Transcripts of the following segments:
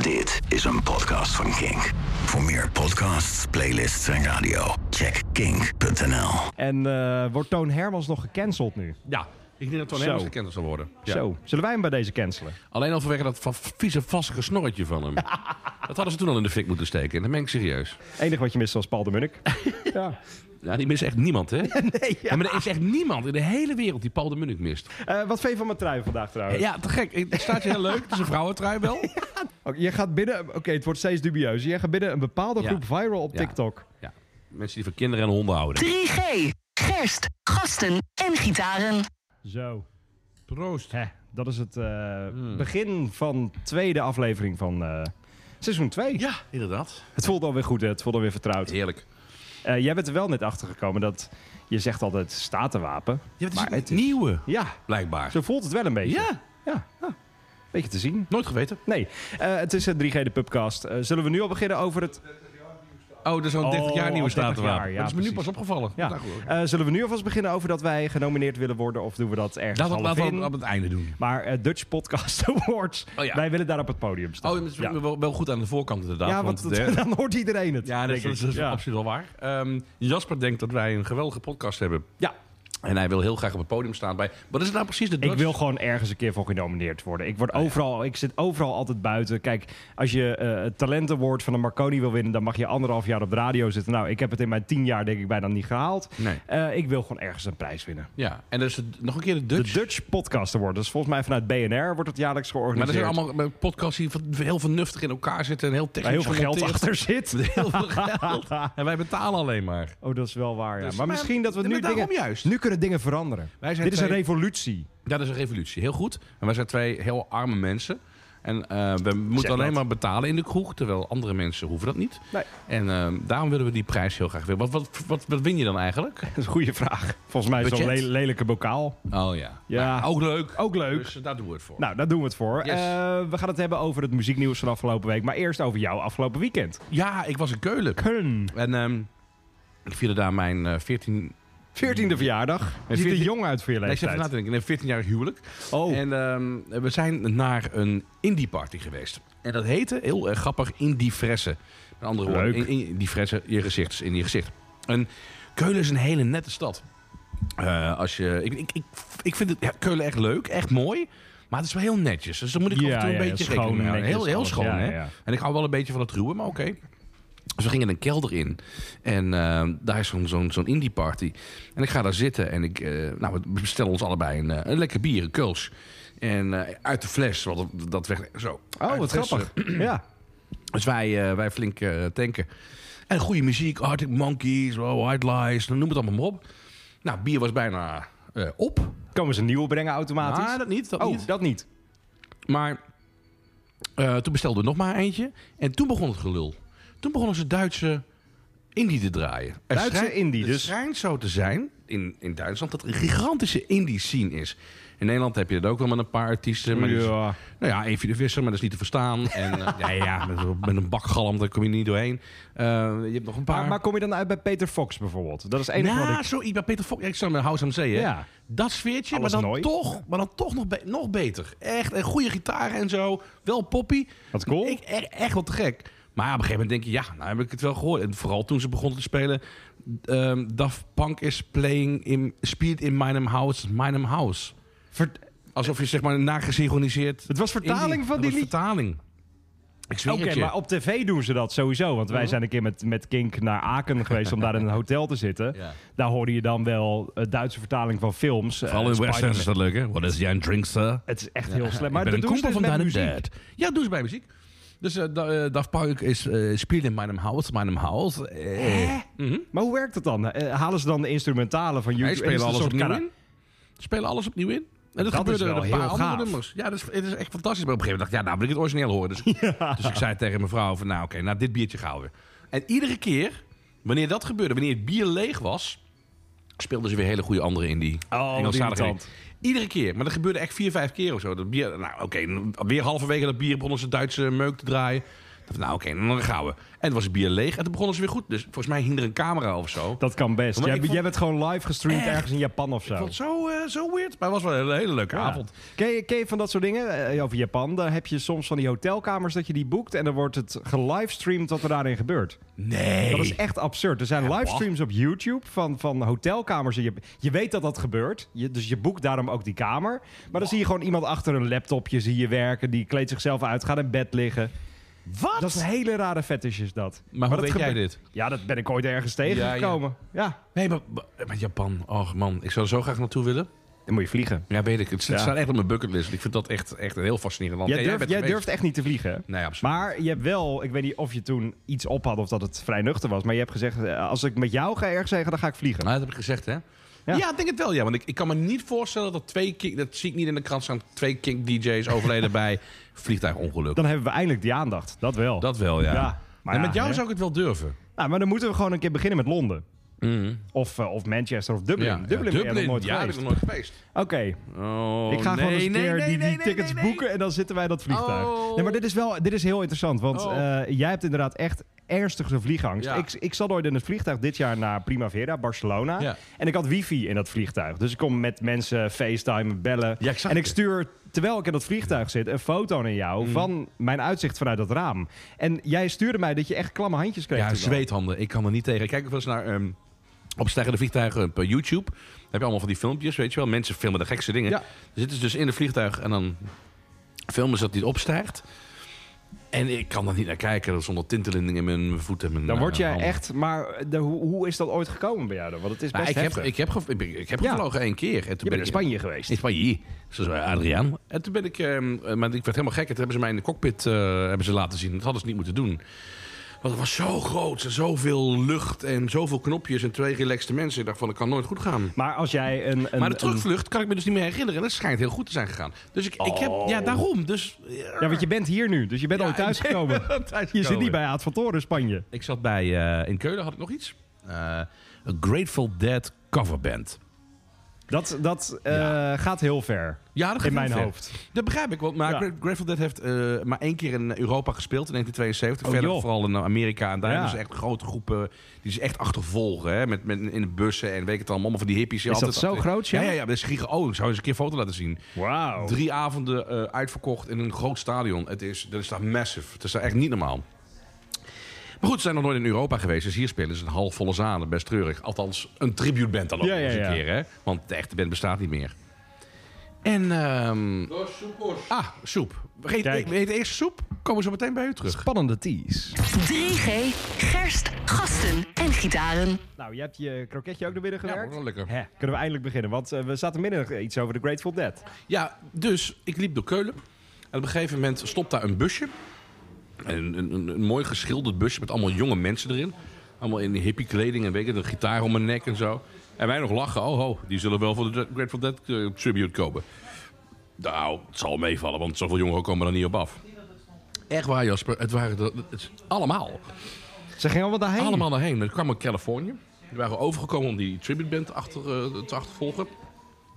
Dit is een podcast van Kink. Voor meer podcasts, playlists en radio, check kink.nl. En eh, wordt Toon Hermans nog gecanceld nu? Ja, ik denk dat Toon Zo. Hermans gekend zal worden. Ja. Zo. Zullen wij hem bij deze cancelen? Alleen al vanwege dat va- vieze, vassige snorretje van hem. dat hadden ze toen al in de fik moeten steken. En dat meen ik serieus. Enig wat je mist was Paul de Munnik. ja. Ja, die mist echt niemand, hè? Ja, maar er is echt niemand in de hele wereld die Paul de Munnik mist. Eh, wat vind je van mijn trui vandaag trouwens? Ja, te gek. Het staat je heel leuk. Het is een vrouwentrui wel. Oké, je gaat binnen... Oké, het wordt steeds dubieus. Je gaat binnen een bepaalde Ja. groep viral op Ja. TikTok. Ja. Mensen die van kinderen en honden houden. 3G, gerst, gasten en gitaren. Zo. Proost. Hè, dat is het eh, Hmm. begin van tweede aflevering van eh, seizoen 2. Ja, inderdaad. Het voelt alweer goed, hè? het voelt alweer vertrouwd. Heerlijk. Eh, jij bent er wel net achter gekomen dat je zegt altijd statenwapen. Ja, het is Maar een het is- nieuwe, Ja, blijkbaar. zo voelt het wel een beetje. Ja, ja. ja. Beetje te zien. nooit geweten. Nee, eh, het is een 3G de Pubcast. Eh, zullen we nu al beginnen over het... Oh, er is al een 30 jaar Oh, nieuwe 30 statenwapen. jaar, ja, dat is me nu precies. pas opgevallen. Ja. Nou, goed. Eh, zullen we nu alvast beginnen over dat wij genomineerd willen worden? Of doen we dat ergens Laten we half laten we in? het op het einde doen. Maar eh, Dutch Podcast Awards, Oh ja. wij willen daar op het podium Oh, staan. dat is ja. wel, wel goed aan de voorkant inderdaad. Ja, want eh, dat- dan hoort iedereen het. Ja, dat is, denk dat ik. is- dat is ja. absoluut wel waar. Ehm, Jasper denkt dat wij een geweldige podcast hebben. Ja. En hij wil heel graag op het podium staan bij... Wat is Oh, het nou precies? De Ik Dutch? wil gewoon ergens een keer voor genomineerd worden. Ik, word overal, ik zit overal altijd buiten. Kijk, als je eh het Talent Award van de Marconi wil winnen... dan mag je anderhalf jaar op de radio zitten. Nou, ik heb het in mijn tien jaar denk ik bijna niet gehaald. Nee. Eh, ik wil gewoon ergens een prijs winnen. Ja, en dat is het- nog een keer de De Dutch. Dutch Podcast Award. Dat is volgens mij vanuit BNR wordt het jaarlijks maar er georganiseerd. zijn allemaal eh, podcasts die van- heel vernuftig in elkaar zitten en heel Waar technisch heel veel geld gemonteerd. achter zit. Heel veel geld. En wij betalen alleen maar. Oh, dat is wel waar, ja. Dus- maar maar- misschien dat we maar nu daarom dingen... juist. Nu kunnen dingen veranderen. Wij zijn Dit is een twee- revolutie. Ja, dat is een revolutie. Heel goed. En wij zijn twee heel arme mensen. En eh, we moeten alleen dat. maar betalen in de kroeg, terwijl andere mensen hoeven dat niet. Nee. En eh, daarom willen we die prijs heel graag winnen. Wat, wat, wat, wat win je dan eigenlijk? Dat is een goede vraag. Volgens mij is zo'n Budget. le- lelijke bokaal. Oh ja. Ja. Maar ook leuk. Ook leuk. Dus eh, daar doen we het voor. Nou, daar doen we het voor. Yes. Eh, we gaan het hebben over het muzieknieuws van afgelopen week. Maar eerst over jou afgelopen weekend. Ja, ik was in Keulen. Köln. En ehm, ik vierde daar mijn eh 14... Nee, 14e verjaardag. Je ziet er 14e jong uit voor je ik zit leeftijd. even na te denken. Een 14-jarig huwelijk. oh, En ehm, we zijn naar een indie party geweest. En dat heette, heel erg grappig, Indie Fressen. Met andere woorden, Leuk. in, in- die fressen, je gezicht is in je gezicht. En Keulen is een hele nette stad. Eh, als je, ik, ik, ik, ik vind het, ja, Keulen echt leuk, echt mooi. Maar het is wel heel netjes. Dus dan moet ik Ja, af en toe een ja, ja, beetje schoon, rekening mee houden. Heel, netjes, heel alles. schoon, Ja, hè? ja, ja. En ik hou wel een beetje van het ruwe, maar oké. Dus we gingen een kelder in. En ehm, daar is zo'n zo'n zo'n indie party. En ik ga daar zitten en ik, eh, nou, we bestellen ons allebei een, eh, een lekker bier, een kuls. En eh, uit de fles, want dat- dat weg. Zo. oh Uit de wat fles, grappig. ja. dus wij, eh, wij flink eh, tanken. En goede muziek, Arctic Monkeys, wow, White Lies, noem het allemaal maar op. Nou, bier was bijna eh, op. Komen ze een nieuwe brengen automatisch? Maar Nou, dat niet, dat oh, niet. dat niet. Maar eh, toen bestelden we nog maar eentje. En toen begon het gelul. Toen begonnen ze Duitse indie te draaien. Er Duitse schijnt- indie, het dus- schijnt zo te zijn in, in Duitsland dat er een gigantische indie scene is. In Nederland heb je dat ook wel met een paar artiesten. Maar die- Ja. nou ja, Evie de Visser, maar dat is niet te verstaan. En eh, ja, ja met, met een bak galm, daar kom je niet doorheen. Eh, je hebt nog een paar... Maar, maar kom je dan uit bij Peter Fox bijvoorbeeld? Dat is het enige nou, wat ik... zoiets bij Peter Fox. Ik zou met House aan Zee, hè? Ja. Dat sfeertje, Alles maar dan, nooit. toch, maar dan toch nog, be- nog beter. Echt, een goede gitaar en zo. Wel poppy. Wat cool. Ik, e- echt wat te gek. Maar op een gegeven moment denk je, ja, nou heb ik het wel gehoord. En vooral toen ze begonnen te spelen. ehm Daft Punk is playing in Speed in Minem House, Minem House. Ver- Alsof je zeg maar nagesynchroniseerd... Het was vertaling indie- van Dat die was lied. vertaling. Ik zweer Oké, het je. maar op tv doen ze dat sowieso. Want wij Mhm. zijn een keer met, met Kink naar Aken geweest om daar in een hotel te zitten. Ja. Daar hoorde je dan wel eh, Duitse vertaling van films. eh, Vooral in Spider-Man. westerns is dat leuk, hè? Wat is jij een drinkster? Het is echt heel slecht. Maar ik ben dat doen een ze koepel dus van met Dad and muziek. Dad. Ja, doe ze bij muziek. Dus eh da, eh, Daft Punk is eh Spiel in Meinem Haus, Meinem Haus. Eh, Maar hoe werkt dat dan? Eh, halen ze dan de instrumentalen van Wij YouTube? en is spelen het een alles soort opnieuw kara- in. Spelen alles opnieuw in. En dat, Dat is gebeurde wel met een paar heel andere gaaf. nummers. Ja, dat is, het is echt fantastisch. Maar op een gegeven moment dacht ik, ja, nou wil ik het origineel horen. Dus, dus ik zei tegen mijn vrouw van, nou oké, nou dit biertje gaan we. En iedere keer, wanneer dat gebeurde, wanneer het bier leeg was... speelden ze weer hele goede andere in die Oh, Engelstalige irritant. lied. Iedere keer. Maar dat gebeurde echt vier, vijf keer of zo. Dat bier, nou oké, weer halverwege dat bier begonnen ze Duitse meuk te draaien. dacht, nou oké, dan gaan we. En toen was het bier leeg en toen begonnen ze weer goed. Dus volgens mij hing er een camera of zo. Dat kan best. Maar Jij, ik vond- jij bent gewoon live gestreamd ergens in Japan of zo. Ik vond het zo, eh, zo weird. Maar het was wel een hele leuke Ja. avond. Ken je, ken je van dat soort dingen? Eh, over Japan, daar heb je soms van die hotelkamers dat je die boekt... en dan wordt het gelivestreamd wat er daarin gebeurt. Nee. Dat is echt absurd. Er zijn livestreams op YouTube van, van hotelkamers. Je, je weet dat dat gebeurt, je, dus je boekt daarom ook die kamer. Maar dan zie je gewoon iemand achter een laptopje zie je werken... die kleedt zichzelf uit, gaat in bed liggen. Wat? Dat is een hele rare fetish is dat. Maar hoe dat weet jij gebeurt- dit? Ja, dat ben ik ooit ergens Ja, ja. tegengekomen. Ja, Nee, maar, maar- maar Japan. Och man, ik zou er zo graag naartoe willen. dan moet je vliegen. Ja, weet ik. Het Ja. staat echt op mijn bucketlist. Ik vind dat echt, echt een heel fascinerend land. Jij En jij durft, bent jij geweest. durft echt niet te vliegen, hè? Nee, absoluut. Maar je hebt wel, ik weet niet of je toen iets op had of dat het vrij nuchter was, maar je hebt gezegd: eh, als ik met jou ga ergens zeggen, dan ga ik vliegen. Nou, dat heb ik gezegd, hè? Ja, ik denk het wel, ja. Want ik, ik kan me niet voorstellen dat twee kink... Dat zie ik niet in de krant staan. Twee kink-dj's overleden bij vliegtuigongeluk. Dan hebben we eindelijk die aandacht. Dat wel. Dat wel, ja. Ja, maar en ja, met jou hè? zou ik het wel durven. Nou, maar dan moeten we gewoon een keer beginnen met Londen. Of, eh, of Manchester of Dublin. Mhm. Ja, ja, Dublin, ben jij nog nooit ja, geweest. ben ik nog nooit geweest. Oké, Oh, ik ga gewoon eens een keer die, die tickets nee, nee. boeken en dan zitten wij in dat vliegtuig. Oh. Nee, maar dit is wel dit is heel interessant, want Oh. eh, jij hebt inderdaad echt ernstig zo'n vliegangst. Ja. Ik, ik zat ooit in het vliegtuig dit jaar naar Primavera, Barcelona. Ja. En ik had wifi in dat vliegtuig. Dus ik kon met mensen FaceTime bellen. Ja, ik zag en ik het. Mm. stuur, terwijl ik in dat vliegtuig zit, een foto naar jou van mijn uitzicht vanuit dat raam. En jij stuurde mij dat je echt klamme handjes kreeg. Ja, toen al. zweethanden. Ik kan er niet tegen. Ik kijk ook wel eens naar ehm opstijgende vliegtuigen op eh, YouTube. Dan heb je allemaal van die filmpjes, weet je wel. Mensen filmen de gekste dingen. Ja. Dan zitten ze dus in een vliegtuig en dan filmen ze dat die opstijgt. En ik kan daar niet naar kijken dat zonder tintelinding in mijn voeten. en Mijn, Dan word eh, jij handen. echt, maar de- hoe, hoe is dat ooit gekomen bij jou dan? Want het is Nou, best ik, heb, heftig. ik heb, gev- ik, ben- ik heb Ja. gevlogen één keer. En toen je bent in ik- Spanje geweest. in Spanje. Zoals bij Adriaan. En toen ben ik, ehm, eh, maar ik werd helemaal gek. En toen hebben ze mij in de cockpit eh, hebben ze laten zien. Dat hadden ze niet moeten doen. Want het was zo groot. En zoveel lucht. En zoveel knopjes. En twee relaxte mensen. Ik dacht van, dat kan nooit goed gaan. Maar als jij een... een maar de een- terugvlucht kan ik me dus niet meer herinneren. En dat schijnt heel goed te zijn gegaan. Dus ik, ik heb, ja, daarom. Dus, Ja, want je bent hier nu, dus je bent Ja, al thuisgekomen. ik ben al thuisgekomen. Je zit niet bij Aad van Toren, Spanje. Ik zat bij, eh, in Keulen had ik nog iets. Eh, een Grateful Dead coverband. Dat, dat eh, gaat heel ver. Ja, dat gaat In mijn heel ver. hoofd. Dat begrijp ik, want maar Ja. Gra- Grateful Dead heeft eh, maar één keer in Europa gespeeld in 1972. Oh, Verder joh. vooral in eh, Amerika. En daar Ja. hebben ze echt grote groepen die ze echt achtervolgen. Hè, met, met, in de bussen en weet ik het allemaal. Allemaal van die hippies. die Is dat altijd zo groot, ja? Ja, ja, ja. Dus gieren, oh, ik zou eens een keer een foto laten zien. Wauw. Drie avonden eh, uitverkocht in een groot stadion. Het is, dat is daar massive. Het is daar echt niet normaal. Maar goed, ze zijn nog nooit in Europa geweest. Dus hier spelen ze een halfvolle zalen. Best treurig. Althans, een tributeband dan ook Ja, ja, eens een ja. keer. Hè? Want de echte band bestaat niet meer. En, ehm, Ah, soep. We Kijk. eten we eten eerst soep. Komen we zo meteen bij u terug. Spannende tease. 3G, gerst, gasten en gitaren. Nou, je hebt je kroketje ook naar binnen Ja, gewerkt. wel lekker. Hè, kunnen we eindelijk beginnen, want eh, we zaten midden iets over de Grateful Dead. Ja, dus ik liep door Keulen. En op een gegeven moment stopt daar een busje. Een, een, een, een mooi geschilderd busje met allemaal jonge mensen erin. Allemaal in hippie kleding en weet ik het, een gitaar om hun nek en zo. En wij nog lachen. Oh, ho, die zullen wel voor de Grateful Dead eh, tribute komen. Nou, het zal meevallen, want zoveel jongeren komen er niet op af. Echt waar, Jasper. Het waren er, het, allemaal. Ze gingen allemaal daarheen. Allemaal daarheen. Dan kwamen we uit Californië. Die waren overgekomen om die tribute band achter, eh, te achtervolgen.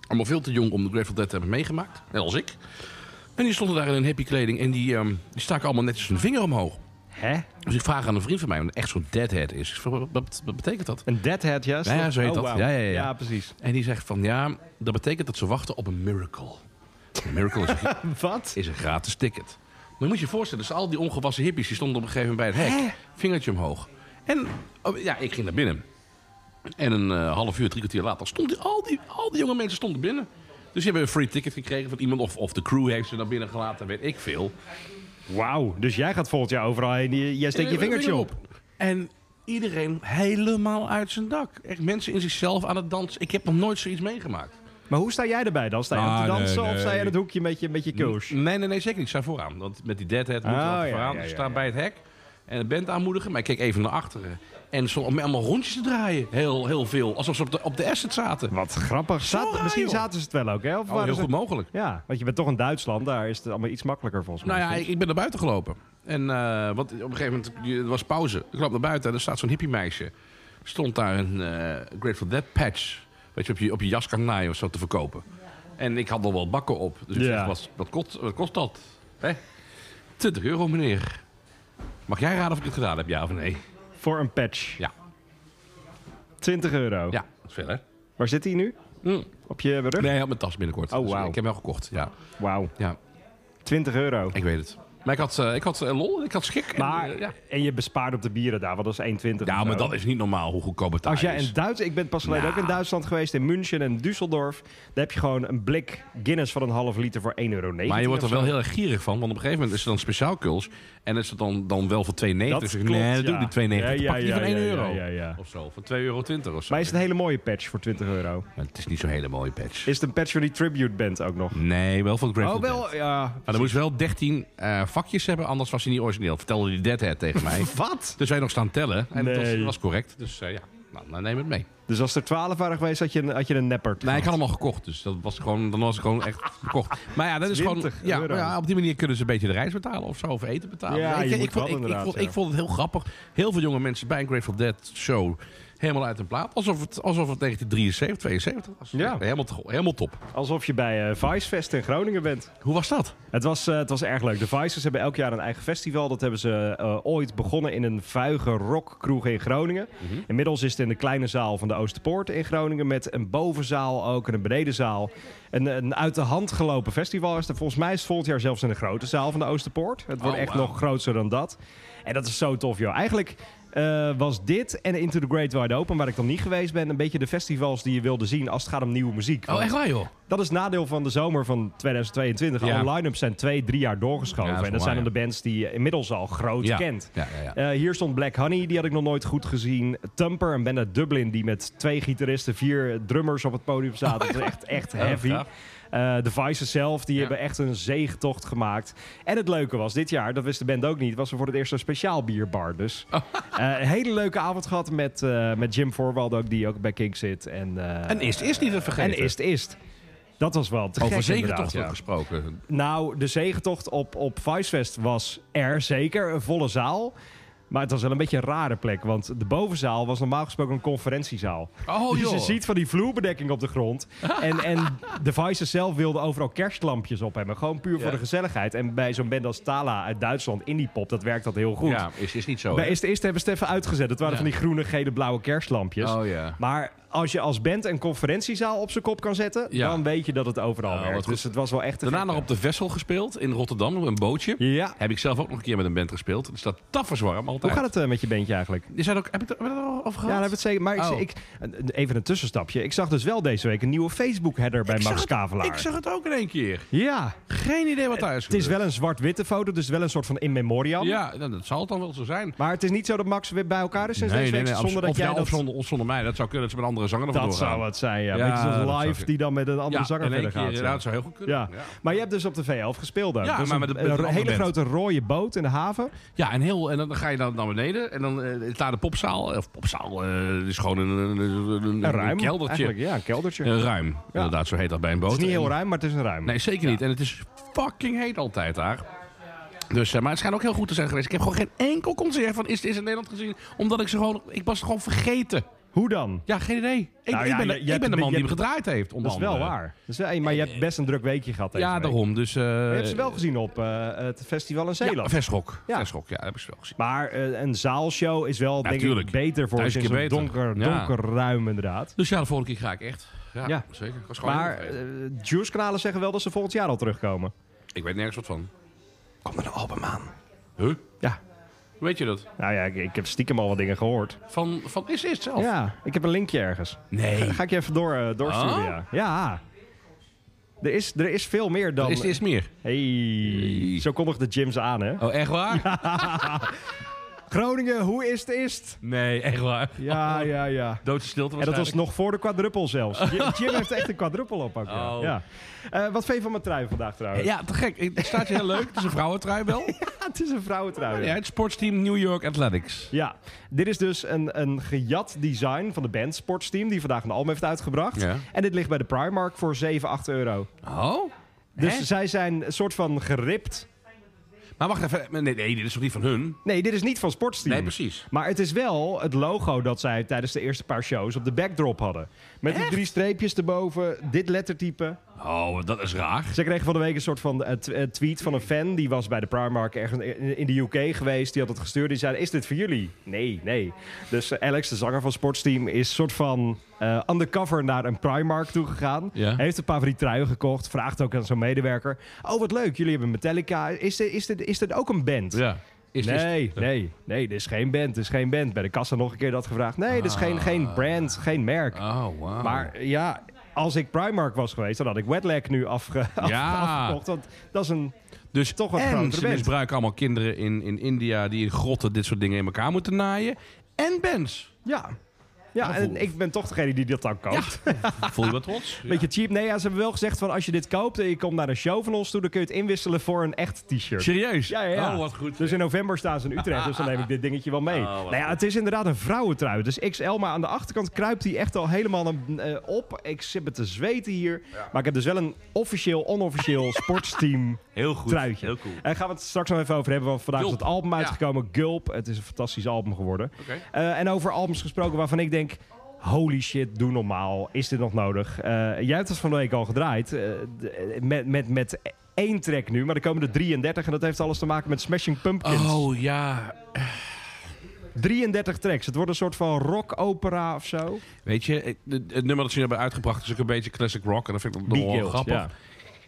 Allemaal veel te jong om de Grateful Dead te hebben meegemaakt. Net als ik. En die stonden daar in hun hippie kleding. En die, ehm, die staken allemaal netjes hun vinger omhoog. Hè? Dus ik vraag aan een vriend van mij, want echt zo'n deadhead is. Ik vraag, wat, wat- wat betekent dat? Een Deadhead, ja? is Ja, ja, zo heet Oh, dat. wauw. Ja, ja, ja. Ja, precies. En die zegt van, ja, dat betekent dat ze wachten op een miracle. Een miracle is een, Wat? is een gratis ticket. Maar je moet je voorstellen, dus al die ongewassen hippies... die stonden op een gegeven moment bij het hek. Vingertje omhoog. En oh, ja, ik ging naar binnen. En een eh, half uur, drie kwartier later... stonden al die, al die jonge mensen stonden binnen. Dus die hebben een free ticket gekregen van iemand... of, of de crew heeft ze naar binnen gelaten, weet ik veel. Wauw, dus jij gaat volgend jaar overal heen. Je- Jij steekt je vingertje op. Eh, En iedereen helemaal uit zijn dak. Echt mensen in zichzelf aan het dansen. Ik heb nog nooit zoiets meegemaakt. Maar hoe sta jij erbij dan? Sta je Ah, aan te nee, dansen of sta je nee. in het hoekje met je, met je koers? Nee, nee, nee, zeker niet. Ik sta vooraan. Want met die deadhead moet je Oh, altijd ja, vooraan. ja, Dus ik ja, sta ja. bij het hek en de band aanmoedigen. Maar ik keek even naar achteren. En stond om allemaal rondjes te draaien. Heel, heel veel. Alsof ze op de, op de asset zaten. Wat grappig. Zaten- raar, misschien joh. zaten ze het wel ook, hè? Of Oh, waren heel ze- goed mogelijk. Ja, want je bent toch in Duitsland, daar is het allemaal iets makkelijker volgens mij. Nou ja, ik, ik ben naar buiten gelopen. En eh, want op een gegeven moment je- het was pauze. Ik loop naar buiten en er staat zo'n hippie meisje. Stond daar een eh, Grateful Dead patch. Weet je, op je, op je jas kan naaien of zo te verkopen. En ik had al wel bakken op. Dus ik Ja. zeg, wat, wat, kost, wat kost dat? Hè? 20 euro, meneer. Mag jij raden of ik het gedaan heb, ja of nee? Voor een patch. Ja. 20 euro. Ja, dat is veel, hè? Waar zit hij nu? Op je rug? Nee, op mijn tas binnenkort. Oh, Dus, wauw. Ik heb hem wel gekocht, ja. Wauw. Ja, 20 euro. ik weet het. Maar ik had, eh, ik had eh, lol en ik had schik. en, Maar, eh, ja. en je bespaart op de bieren daar, want dat is 1,20 of ja, maar zo. dat is niet normaal hoe goedkoop het daar Als jij is. in Duits, ik ben pas geleden Nou. ook in Duitsland geweest, in München en Düsseldorf. Daar heb je gewoon een blik Guinness van een half liter voor 1,90 euro. Maar je wordt er wel heel erg gierig van, want op een gegeven moment is er dan speciaal kuls. En is het dan, dan wel voor 2,90? Dat Dus ik klopt, nee, dat ja. doe ik die 2,90. Ja, Dan pak je ja, die van ja, 1 ja, euro. ja, ja. Of zo, van 2,20 euro of zo. Maar is het een hele mooie patch voor 20 euro? Maar het is niet zo'n hele mooie patch. Is het een patch voor die tribute band ook nog? Nee, wel van Grateful Oh, Dead. wel, ja. Maar dan moest je wel 13 eh, vakjes hebben, anders was hij niet origineel. Vertelde die Deadhead tegen mij. Wat? dus wij nog staan tellen. En dat was, Nee. was correct. Dus eh, ja, nou, dan neem het mee. Dus als er 12 waren geweest, had je een, had je een neppert. Nee, ik had hem al gekocht. Dus dat was gewoon, dan was ik gewoon echt gekocht. Maar ja, dat is gewoon. 20 Ja, euro. maar ja, op die manier kunnen ze een beetje de reis betalen of zo. Of eten betalen. Ja, ik, je ik, moet vond, wel ik- ik, inderdaad, vond, ja. ik vond het heel grappig. Heel veel jonge mensen bij een Grateful Dead show. Helemaal uit hun plaat. Alsof het, alsof het 1973, 72 was. Ja. Helemaal, to- helemaal top. Alsof je bij eh Vicefest in Groningen bent. Hoe was dat? Het was, eh, het was erg leuk. De Vicers hebben elk jaar een eigen festival. Dat hebben ze eh, ooit begonnen in een vuige rockkroeg in Groningen. Mhm. Inmiddels is het in de kleine zaal van de Oosterpoort in Groningen. Met een bovenzaal ook en een benedenzaal. Een, een uit de hand gelopen festival is er. Volgens mij is het volgend jaar zelfs in de grote zaal van de Oosterpoort. Het wordt Oh, echt wauw. nog groter dan dat. En dat is zo tof, joh. Eigenlijk eh, was dit en Into the Great Wide Open, waar ik dan niet geweest ben... een beetje de festivals die je wilde zien als het gaat om nieuwe muziek. Oh, echt waar joh. Dat is het nadeel van de zomer van 2022. Ja. Alle line-ups zijn twee, drie jaar doorgeschoven. Ja, dat is en dat wel zijn dan waar, de bands die je inmiddels al groot Ja. kent. Ja, ja, ja. Eh, hier stond Black Honey, die had ik nog nooit goed gezien. Tumper, een band uit Dublin die met twee gitaristen, vier drummers op het podium zaten. Dat is echt, echt heavy. Oh, gaaf. Eh, de Vices zelf, die Ja. hebben echt een zeegtocht gemaakt. En het leuke was, dit jaar, dat wist de band ook niet, was er voor het eerst een speciaal bierbar. Dus Oh. eh, een hele leuke avond gehad met, eh, met Jim Voorwald ook, die ook bij King zit. En, eh, En is, is niet te vergeten. en is het is. Dat was wel te Over gek zekertocht inderdaad, ja. gesproken. Nou, de zegentocht op, op Vicefest was er zeker. Een volle zaal. Maar het was wel een beetje een rare plek. Want de bovenzaal was normaal gesproken een conferentiezaal. Oh, dus je joh. ziet van die vloerbedekking op de grond. En, en de Vices zelf wilden overal kerstlampjes op hebben. Gewoon puur voor Ja. de gezelligheid. En bij zo'n band als Tala uit Duitsland, Indie Pop, dat werkt dat heel goed. Oh, Ja, is, is niet zo. Bij hè? Is de Is hebben ze het even uitgezet. Dat waren Ja. van die groene, gele, blauwe kerstlampjes. Oh, ja. Maar als je als band een conferentiezaal op zijn kop kan zetten... Ja. dan weet je dat het overal Ja, wat werkt. goed. Dus het was wel echt... te Daarna gek, nog ja. op de Vessel gespeeld in Rotterdam, op een bootje. Ja. Heb ik zelf ook nog een keer met een band gespeeld. Dus dat taf is warm altijd. Hoe gaat het eh, met je bandje eigenlijk? Ja, Is dat ook, heb ik het hebben we het er al over daar gehad? hebben we het zeker. Maar ik- Oh. ik, eh, even een tussenstapje. Ik zag dus wel deze week een nieuwe Facebook-header bij Ik zag Max het- Kavelaar. Ik zag het ook in één keer. Ja, Geen idee wat daar is het is wel een zwart-witte foto, dus wel een soort van in memoriam. Ja, nou, dat zal het dan wel zo zijn. Maar het is niet zo dat Max weer bij elkaar is sinds deze week, absolu- zonder dat of, jij ja, dat... of zonder, of zonder mij. Dat zou kunnen dat ze met andere zanger ervan dat zou doorgaan. het zijn, ja. Ja, Beetje zo'n dat zou live kunnen. die dan met een andere Ja, zanger in één verder keer, gaat. ja. Ja, dat zou heel goed kunnen. Ja. Ja, ja. maar je hebt dus op de VF gespeeld ook. Ja, dus maar een, met de- met een een andere hele band. grote rode boot in de haven. en, heel, en dan ga je dan naar beneden. En dan eh, is daar de popzaal. Of popzaal eh, is gewoon een, een, een, een- Een ruim. een keldertje. eigenlijk. Ja, een keldertje. Een ruim, inderdaad. Zo heet dat bij een boot. het is niet En- heel ruim, maar het is een ruim. Nee, zeker niet. En het is fucking heet altijd daar. Dus, eh, maar het schijnt ook heel goed te zijn geweest. Ik heb gewoon geen enkel concert van Is het Is in Nederland gezien. Omdat ik ze gewoon... Ik was ze gewoon vergeten. Hoe dan? Ja, geen idee. Ik, Nou ik ja, ben, je- de- je ik hebt- ben de man je die hem hebt- gedraaid heeft. onder Dat is wel andere. waar. Dat is wel- hey, maar je hebt best een druk weekje gehad deze eh, Ja, week. daarom. Dus, eh Maar Je hebt ze wel gezien op eh, het festival in Ja, Zeeland. Verschok. Ja. Ja. Verschok, ja, dat heb ik ze wel gezien. maar eh, een zaalshow is wel denk ik tuurlijk. beter voor Duizend in keer zo'n beter. donker, Ja. donker ruim inderdaad. Dus ja, de volgende keer ga ik echt. Ja, Ja. zeker. Ik was gewoon Maar heel vergeten. eh, Juice-kanalen zeggen wel dat ze volgend jaar al terugkomen. ik weet nergens wat van. Komt er een album aan? Huh? Ja, Hoe weet je dat? nou ja, ik, ik heb stiekem al wat dingen gehoord. Van, van Is Is zelf? Ja, ik heb een linkje ergens. Nee. Dan ga ik je even door, eh, doorsturen, Oh? ja. Ja. Er is, er is veel meer dan... Is Is meer? Hey, zo kondigde Jim ze aan, hè? Oh, echt waar? Groningen, hoe is het is? Nee, echt waar. Ja, Oh. ja, ja. Doodse stilte En dat was waarschijnlijk. nog voor de quadruppel zelfs. Jim, Jim heeft echt een quadruppel op ook. Ja. Oh. Ja. Eh, wat vind je van mijn trui vandaag trouwens? Ja, te gek. Ik- Het staat je heel leuk. Het is een vrouwentrui wel. het is een vrouwentrui. Ja, Ja. het sportsteam New York Athletics. Ja, dit is dus een, een gejat design van de band Sportsteam... die vandaag een album heeft uitgebracht. Ja. En dit ligt bij de Primark voor 7, 8 euro. Oh? Dus Hè? zij zijn een soort van geript. Maar wacht even. Nee, nee, dit is toch niet van hun? Nee, dit is niet van Sportsteam. Nee, precies. Maar het is wel het logo dat zij tijdens de eerste paar shows op de backdrop hadden. Met die drie streepjes erboven, dit lettertype. Oh, dat is raar. Ze kregen van de week een soort van eh, tw- eh, tweet van een fan. Die was bij de Primark ergens in in de UK geweest. Die had het gestuurd. Die zei, is dit voor jullie? Nee, nee. Dus eh, Alex, de zanger van Sportsteam, is soort van eh, undercover naar een Primark toe gegaan. Ja. Heeft een paar van die truien gekocht. Vraagt ook aan zo'n medewerker. Oh, wat leuk. Jullie hebben Metallica. Is dit, is dit, is dit ook een band? Ja. Is, is- nee, nee, nee, dit is geen band, dit is geen band. Bij de kassa nog een keer dat gevraagd. Nee, dit is Ah. geen, geen brand, geen merk. Oh, wauw. Maar ja, als ik Primark was geweest, dan had ik Wetlag nu afge af- Ja. afgekocht. Want dat is een... Dus Toch toch wat en grotere ze band. misbruiken allemaal kinderen in, in India die in grotten dit soort dingen in elkaar moeten naaien. En bands. Ja, Nou, ja en ik ben toch degene die dat dan koopt. Voel je wat trots? Beetje cheap. Nee, ja, ze hebben wel gezegd van als je dit koopt en je komt naar een show van ons toe... dan kun je het inwisselen voor een echt Ja. t-shirt. Serieus? Ja, ja, ja. Oh, wat goed. Dus in november staan ze in Utrecht, dus dan neem ik dit dingetje wel mee. Oh, wat nou ja, goed. het is inderdaad een vrouwentrui. Dus XL, maar aan de achterkant kruipt hij echt al helemaal een, eh, op. Ik zit me te zweten hier. Maar ik heb dus wel een officieel, onofficieel sportsteam heel goed. truitje. Heel cool. En gaan we het straks nog even over hebben, want vandaag is Gulp. het album Ja. uitgekomen, Gulp. Het is een fantastisch album geworden. Oké. Eh, en over albums gesproken waarvan ik denk... Holy shit, doe normaal. Is dit nog nodig? Eh, jij hebt het van de week al gedraaid. eh, d- eh, met, met, met één track nu, maar er komen er 33. En dat heeft alles te maken met Smashing Pumpkins. Oh ja. 33 tracks. Het wordt een soort van rock-opera of zo. Weet je, het, het nummer dat ze nu hebben uitgebracht is ook een beetje classic rock. En dat vind ik nog Be wel Guild, grappig. Ja.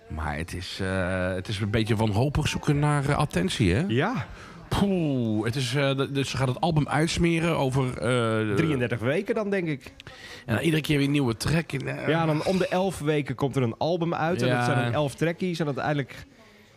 Maar het is, eh, het is een beetje wanhopig zoeken naar eh, attentie, hè? ja, Poeh, het is, eh, de- dus ze gaat het album uitsmeren over... eh, 33 weken dan, denk ik. En dan iedere keer weer een nieuwe track. En, eh, Ja, dan om de 11 weken komt er een album uit. En Ja. dat zijn dan 11 trackies. En uiteindelijk...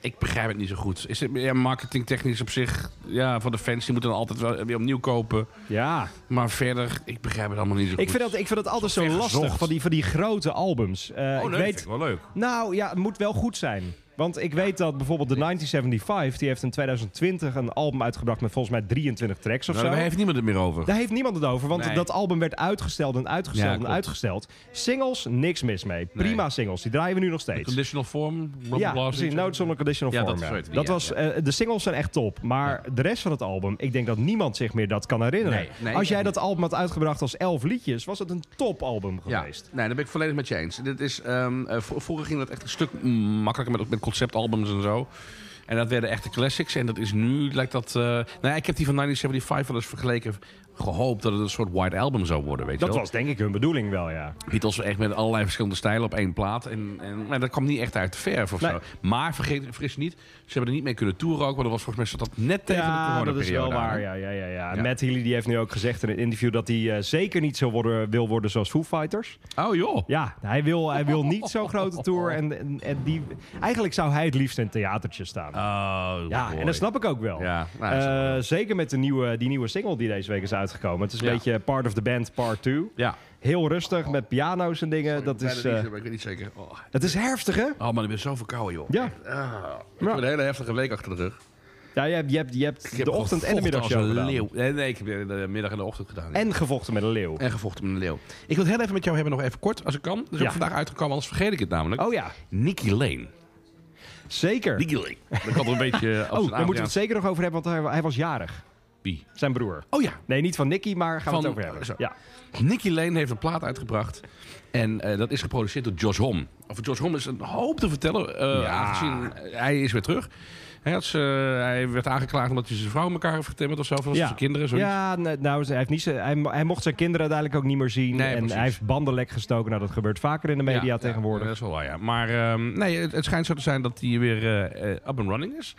Ik begrijp het niet zo goed. Is het, ja, marketingtechnisch op zich, ja, van de fans, die moeten dan altijd wel weer opnieuw kopen. Ja, Maar verder, ik begrijp het allemaal niet zo goed. ik vind, dat, ik vind dat altijd zo ver lastig gezocht. van die, van die grote albums. Eh, Oh, ik nee, weet, vind ik wel leuk. Nou ja, het moet wel goed zijn. Want ik weet dat bijvoorbeeld de 1975, die heeft in 2020 een album uitgebracht met volgens mij 23 tracks of Nou, daar zo. heeft niemand het meer over. Daar heeft niemand het over, want Nee. dat album werd uitgesteld en Ja, uitgesteld en klopt. uitgesteld. Singles, niks mis mee. Prima singles, die draaien we nu nog steeds. Conditional form, blah, Ja, blah, precies. Nou, zoiets. Notes on a Conditional Ja, Form. dat ja. is het, die, Dat ja, was, ja. eh, de singles zijn echt top. Maar de rest van het album, ik denk dat niemand zich meer dat kan herinneren. Nee, nee, als ik jij ook dat album had uitgebracht als elf liedjes, was het een topalbum Ja, geweest. nee, daar ben ik volledig met je eens. Dit is, ehm, eh, vro- vroeger ging dat echt een stuk makkelijker met, met conceptalbums en zo. En dat werden echte classics. En dat is nu, lijkt dat... eh, nou ja, ik heb die van 1975 wel eens vergeleken. Gehoopt dat het een soort white album zou worden, weet Dat je wel. was denk ik hun bedoeling wel, ja. Beatles echt met allerlei verschillende stijlen op één plaat. En, en nou, dat kwam niet echt uit de verf of Nee. zo. Maar vergeet, vergis niet, ze hebben er niet mee kunnen toeren ook. Want dat was volgens mij zat dat net tegen de ja, dat is wel coronaperiode aan, hè? waar. Ja, ja, ja, ja. Ja. Matt Healy die heeft nu ook gezegd in een interview dat hij eh, zeker niet zo worden, wil worden zoals Foo Fighters. Oh joh. Ja, hij wil, hij wil niet zo'n grote tour. En, en, en die, eigenlijk zou hij het liefst in theatertjes staan. Oh, ja, mooi. en dat snap ik ook wel. Ja, nou, dat snap Eh, ik wel. zeker met de nieuwe, die nieuwe single die deze week is uitgekomen. Het is een Ja. beetje Part of the Band Part 2. Ja. Heel rustig met piano's en dingen. Dat Bijna is, niet, eh, maar ik weet niet zeker. Oh, het is herftig, hè? Oh man, ik ben zo verkouden, joh. Ja. Ah, ik Ja. heb een hele heftige week achter de rug. ja je hebt, je hebt, je hebt Ik heb de ochtend- en de gevochten middagshow als een gedaan. leeuw. Nee, nee, ik heb de de middag en de ochtend gedaan. En gevochten met een leeuw. En gevochten met een leeuw. Ik wil het heel even met jou hebben, nog even kort, als ik kan. Dat is Ja. ook vandaag uitgekomen, anders vergeet ik het namelijk. Oh ja, Nicky Lane. zeker. Nicky Lane. Dat kan toch een beetje... eh, als Oh, een daar moeten we het Afrikaans- zeker nog over hebben, want hij, hij was jarig. Wie? Zijn broer. Oh ja, Nee, niet van Nicky, maar gaan we het Van- over hebben. zo. Ja. Nicky Lane heeft een plaat uitgebracht. En eh, dat is geproduceerd door Josh Homme. Over Josh Homme is een hoop te vertellen. eh, Ja. aangezien hij is weer terug. Hij, had ze- hij werd aangeklaagd omdat hij zijn vrouw in elkaar heeft getimmerd of zo. Of was het ja. zijn kinderen, zoiets. ja, nee, nou, hij, heeft niet, zo- hij, mo- hij mocht zijn kinderen uiteindelijk ook niet meer zien. Nee, en precies. hij heeft banden lek gestoken. Nou, dat gebeurt vaker in de media Ja, tegenwoordig. ja, dat is wel waar, ja. Maar ehm, nee, het, het schijnt zo te zijn dat hij weer eh, eh, up and running is.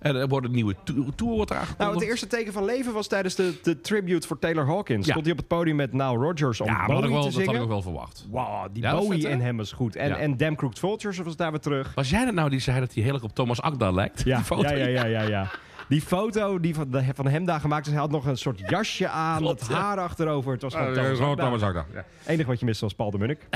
En er wordt een nieuwe to- tour wordt aangekondigd. nou, het eerste teken van leven was tijdens de, de tribute voor Taylor Hawkins. Ja. Stond hij op het podium met Nile Rodgers om ja, maar dat had, ik Bowie wel, te dat had ik zingen. ook wel verwacht. Wauw, die Ja, dat is Bowie vet, in hè? hem is goed. En, Ja. en Damn Crooked Vultures was daar weer terug. Was jij dat nou die zei dat hij heel erg op Thomas Akda lijkt? Ja, Die foto? ja, ja, ja, ja, ja. Die foto die van, van hem daar gemaakt is, hij had nog een soort jasje aan, Klopt, dat ja. haar achterover. Het was Ja, gewoon dat is Thomas gewoon Akda. Thomas Akda. Ja. Enig wat je mist was Paul de Munnik.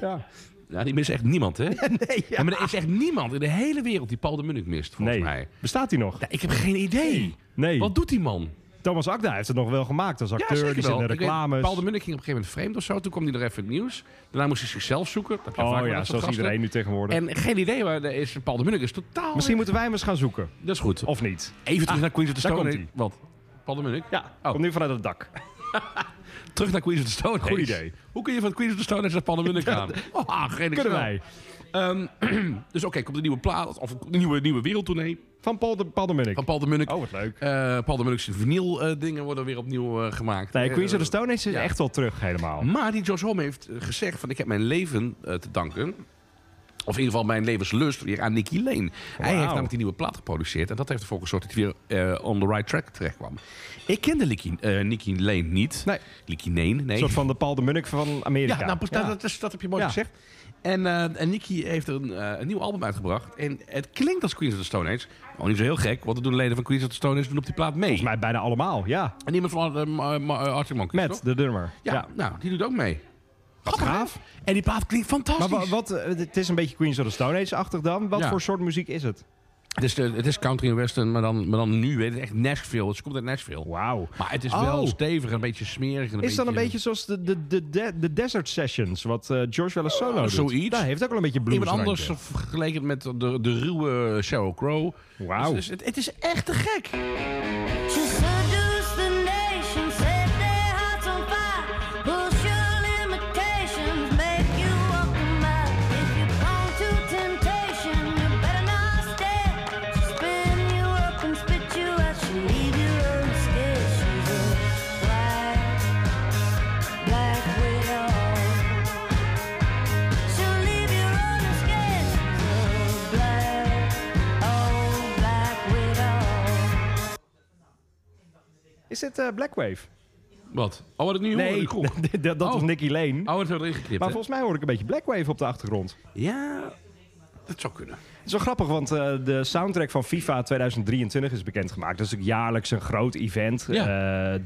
ja. Ja, die mist echt niemand, hè? Nee, Ja, maar er is echt niemand in de hele wereld die Paul de Munnik mist, volgens nee. mij. Bestaat hij nog? Ja, ik heb geen idee. Nee. Wat doet die man? Thomas Akda heeft het nog wel gemaakt als ja, acteur. zeker die zit wel. in de Ik weet, reclames. Paul de Munnik ging op een gegeven moment vreemd of zo. Toen kwam hij er even in het nieuws. Daarna moest hij zichzelf zoeken. Dat heb je vaak oh met ja, dat soort zoals gasten. iedereen nu tegenwoordig. En geen idee waar de is. Paul de Munnik is totaal... Misschien moeten wij hem eens gaan zoeken. Dat is goed. Ah, Of niet? Oh, Even terug naar Queens of the daar Stone Age. komt-ie. Wat? Paul de Munnik? Ja, Oh. komt nu vanuit het dak. Terug naar Queens of the Stone Age. Goed idee. Hoe kun je van Queens of the Stone Age naar Paul de Munnik gaan? Ah, geen idee. Kunnen wij. Ehm, dus oké, komt een nieuwe plaat. Of een nieuwe, nieuwe wereldtournee. Van Paul de, Paul de Munnik. Van Paul de Munnik. Oh, wat leuk. Eh, Paul de Munnik's vinyl eh, dingen worden weer opnieuw eh, gemaakt. Nee, Eh, Queens of the Stone Age is dus ja. echt wel terug helemaal. Maar die Josh Homme heeft eh, gezegd van ik heb mijn leven eh, te danken. Of in ieder geval mijn levenslust weer aan Nicky Lane. Hij heeft namelijk die nieuwe plaat geproduceerd. En dat heeft ervoor gezorgd dat hij weer eh, on the right track terecht kwam. Ik kende Nicky, eh, Nicky Lane niet. Nee. Nicky Lane, nee. Een soort van de Paul de Munnik van Amerika. Ja, nou, precies, Dat, is, dat heb je mooi Ja. gezegd. En, eh, en Nicky heeft een, eh, een nieuw album uitgebracht. En het klinkt als Queens of the Stone Age. Oh, niet zo heel gek, want de doen leden van Queens of the Stone Age doen op die plaat mee. Maar bijna allemaal, ja. En iemand van eh, Ma- Ma- eh, Arctic Monkeys, Met toch? de nummer. Ja, nou, die doet ook mee. Grappig, gaaf. hè? En die plaat klinkt Maar fantastisch. wa- wat, eh, het is een beetje Queens of the Stone Age-achtig dan. Wat Ja. voor soort muziek is het? het, is, de- het is country en western, maar dan, maar dan nu, weet je, echt Nashville. Het komt uit Nashville. Wauw. Maar het is Oh. wel stevig en een beetje smerig. En een Is dat een beetje zoals de, de, de, de, de Desert Sessions, wat eh, George wel eens solo doet? zoiets. Daar heeft ook wel een beetje blues Iemand anders vergeleken met de, de ruwe Sheryl Crow. Wauw. Dus, dus het, het is echt te gek. She seduced the nation, set their hearts on fire. Push your limitations, make you walk the mile. If you come to temptation, you better not stay. She spin you up and spit you out. She leave you alone scared. She's a black, black widow. She'll leave you alone scared. She's a black, oh black widow. Is dit eh, Black Wave? Wat? Oh, wat het nu hoorde, Nee, die klonk. dat- dat was Oh. Nicky Lane. Oh, het werd erin geknipt, Maar hè? volgens mij hoor ik een beetje Black Wave op de achtergrond. Ja, dat zou kunnen. Het is wel grappig, want eh, de soundtrack van FIFA 2023 is bekendgemaakt. Dat is natuurlijk jaarlijks een groot event. Eh,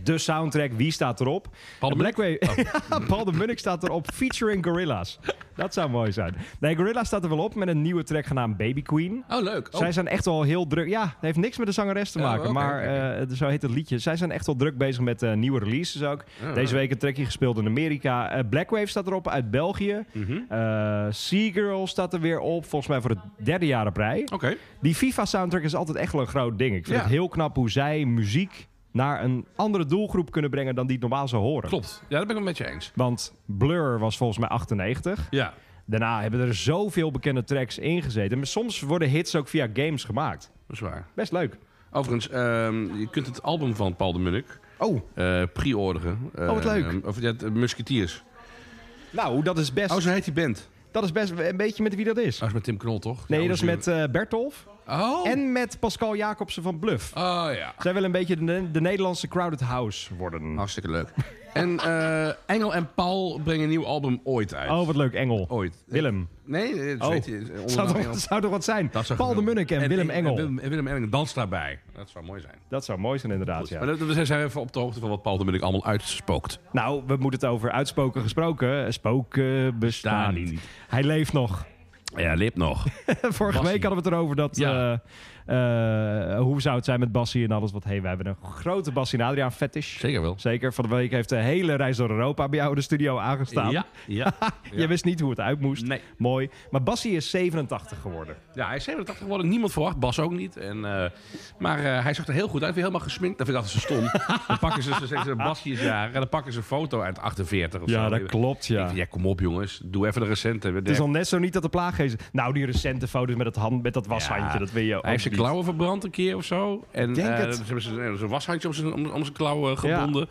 de soundtrack, wie staat erop? Paul de Oh. Black Wave- Paul de Munnik staat erop, featuring Gorillaz. Dat zou mooi zijn. Nee, Gorillaz staat er wel op met een nieuwe track genaamd Baby Queen. Oh, leuk. Oh, Zij zijn echt wel heel druk. Ja, het heeft niks met de zangeres te Oh, maken. oké, maar oké, eh, het- zo heet het liedje. Zij zijn echt wel druk bezig met eh, nieuwe releases ook. Ah, Deze week een trekje gespeeld in Amerika. Eh, Black Wave staat erop uit België. Mhm. Eh, Seagirl staat er weer op. Volgens mij voor het derde jaar op rij. Oké. Die FIFA-soundtrack is altijd echt wel een groot ding. Ik vind Oh. Ja. het heel knap hoe zij muziek naar een andere doelgroep kunnen brengen dan die het normaal zou horen. Klopt. Ja, dat ben ik het met je eens. Want Blur was volgens mij 98. Ja. Daarna hebben er zoveel bekende tracks ingezeten. Maar soms worden hits ook via games gemaakt. Dat is waar. Best leuk. Overigens, ehm, je kunt het album van Paul de Munnik Oh, eh pre-orderen. Eh, wat leuk. Of ja, de Musketeers. nou, dat is best, Oh, zo heet die band. dat is best een beetje met wie dat is. Dat Oh, is met Tim Knol, toch? Nee, Ja, dat is hoe met eh Bertolf nou, Oh. en met Pascal Jacobsen van Bluff. Oh, ja. Zij willen een beetje de, de Nederlandse Crowded House worden. Hartstikke leuk. en eh, Engel en Paul brengen een nieuw album ooit uit. Oh, wat leuk, Engel. Ooit. Willem. Nee, eh, zo Oh, heet die, eh, zou, onder naam Engel. toch, zou toch wat zijn? Dat zou Paul de genoeg- Munnik en, Willem Engel. En Willem, en Willem Engel danst daarbij. Dat zou mooi zijn. Dat zou mooi zijn inderdaad, ja. Maar dat- we zijn even op de hoogte van wat Paul de Munnik allemaal uitspookt. Nou, we moeten het over uitspoken gesproken. Spoken bestaan Bestaan niet. niet. Hij leeft nog. Ja, lip nog. Vorige Bassie. week hadden we het erover dat... Ja. eh, eh, hoe zou het zijn met Bassie en alles? Want hey, we hebben een grote Bassie en Adriaan fetish. Zeker wel. Zeker. Van de week heeft de hele reis door Europa bij jou in de studio aangestaan. Ja, ja. Je wist niet hoe het uit moest. Nee. Mooi. Maar Bassie is 87 geworden. ja, hij is 87 geworden. Niemand verwacht. Bas ook niet. En, eh, maar eh, hij zag er heel goed uit. Weer helemaal gesminkt. Dat vind ik altijd zo stom. dan pakken ze, ze zeggen ze, Basje is jarig. En dan pakken ze een foto uit 48 of zo. klopt, Ik denk, Ja, kom op jongens. Doe even de recente. Het is al net zo niet dat de plaaggeest... Nou, die recente foto's met, het hand, met dat washandje, dat wil je ook Hij heeft zijn niet. klauwen verbrand een keer of zo. En denk eh, het. ze hebben zijn, zijn washandje om zijn, om, om zijn klauwen eh, gebonden.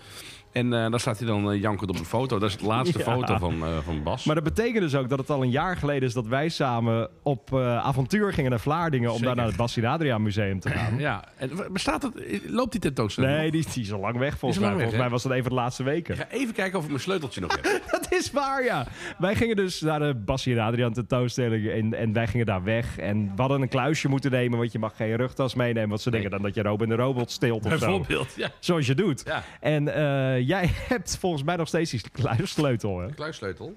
En eh daar staat hij dan eh, jankend op de foto. Dat is de laatste Ja. foto van, eh, van Bas. Maar dat betekent dus ook dat het al een jaar geleden is dat wij samen op eh, avontuur gingen naar Vlaardingen... om daar Zeker. naar het Bassie en Adriaan museum te gaan. ja, en w- bestaat het, loopt die tentoonstelling? Nee, die, die is al lang weg Die is volgens al mij. lang weg, Volgens hè? mij was dat een van de laatste weken. Ik ga even kijken of ik mijn sleuteltje nog heb. Dat is waar, ja. Wij gingen dus naar de Bassie en Adriaan tentoonstelling en, en wij gingen daar weg. En we hadden een kluisje moeten nemen, want je mag geen rugtas meenemen. Want ze denken dan dat je Robin de Robot steelt of zo. Bijvoorbeeld, ja. Zoals je doet. Ja. En eh, jij hebt volgens mij nog steeds die kluissleutel, Oh, hè? Kluissleutel.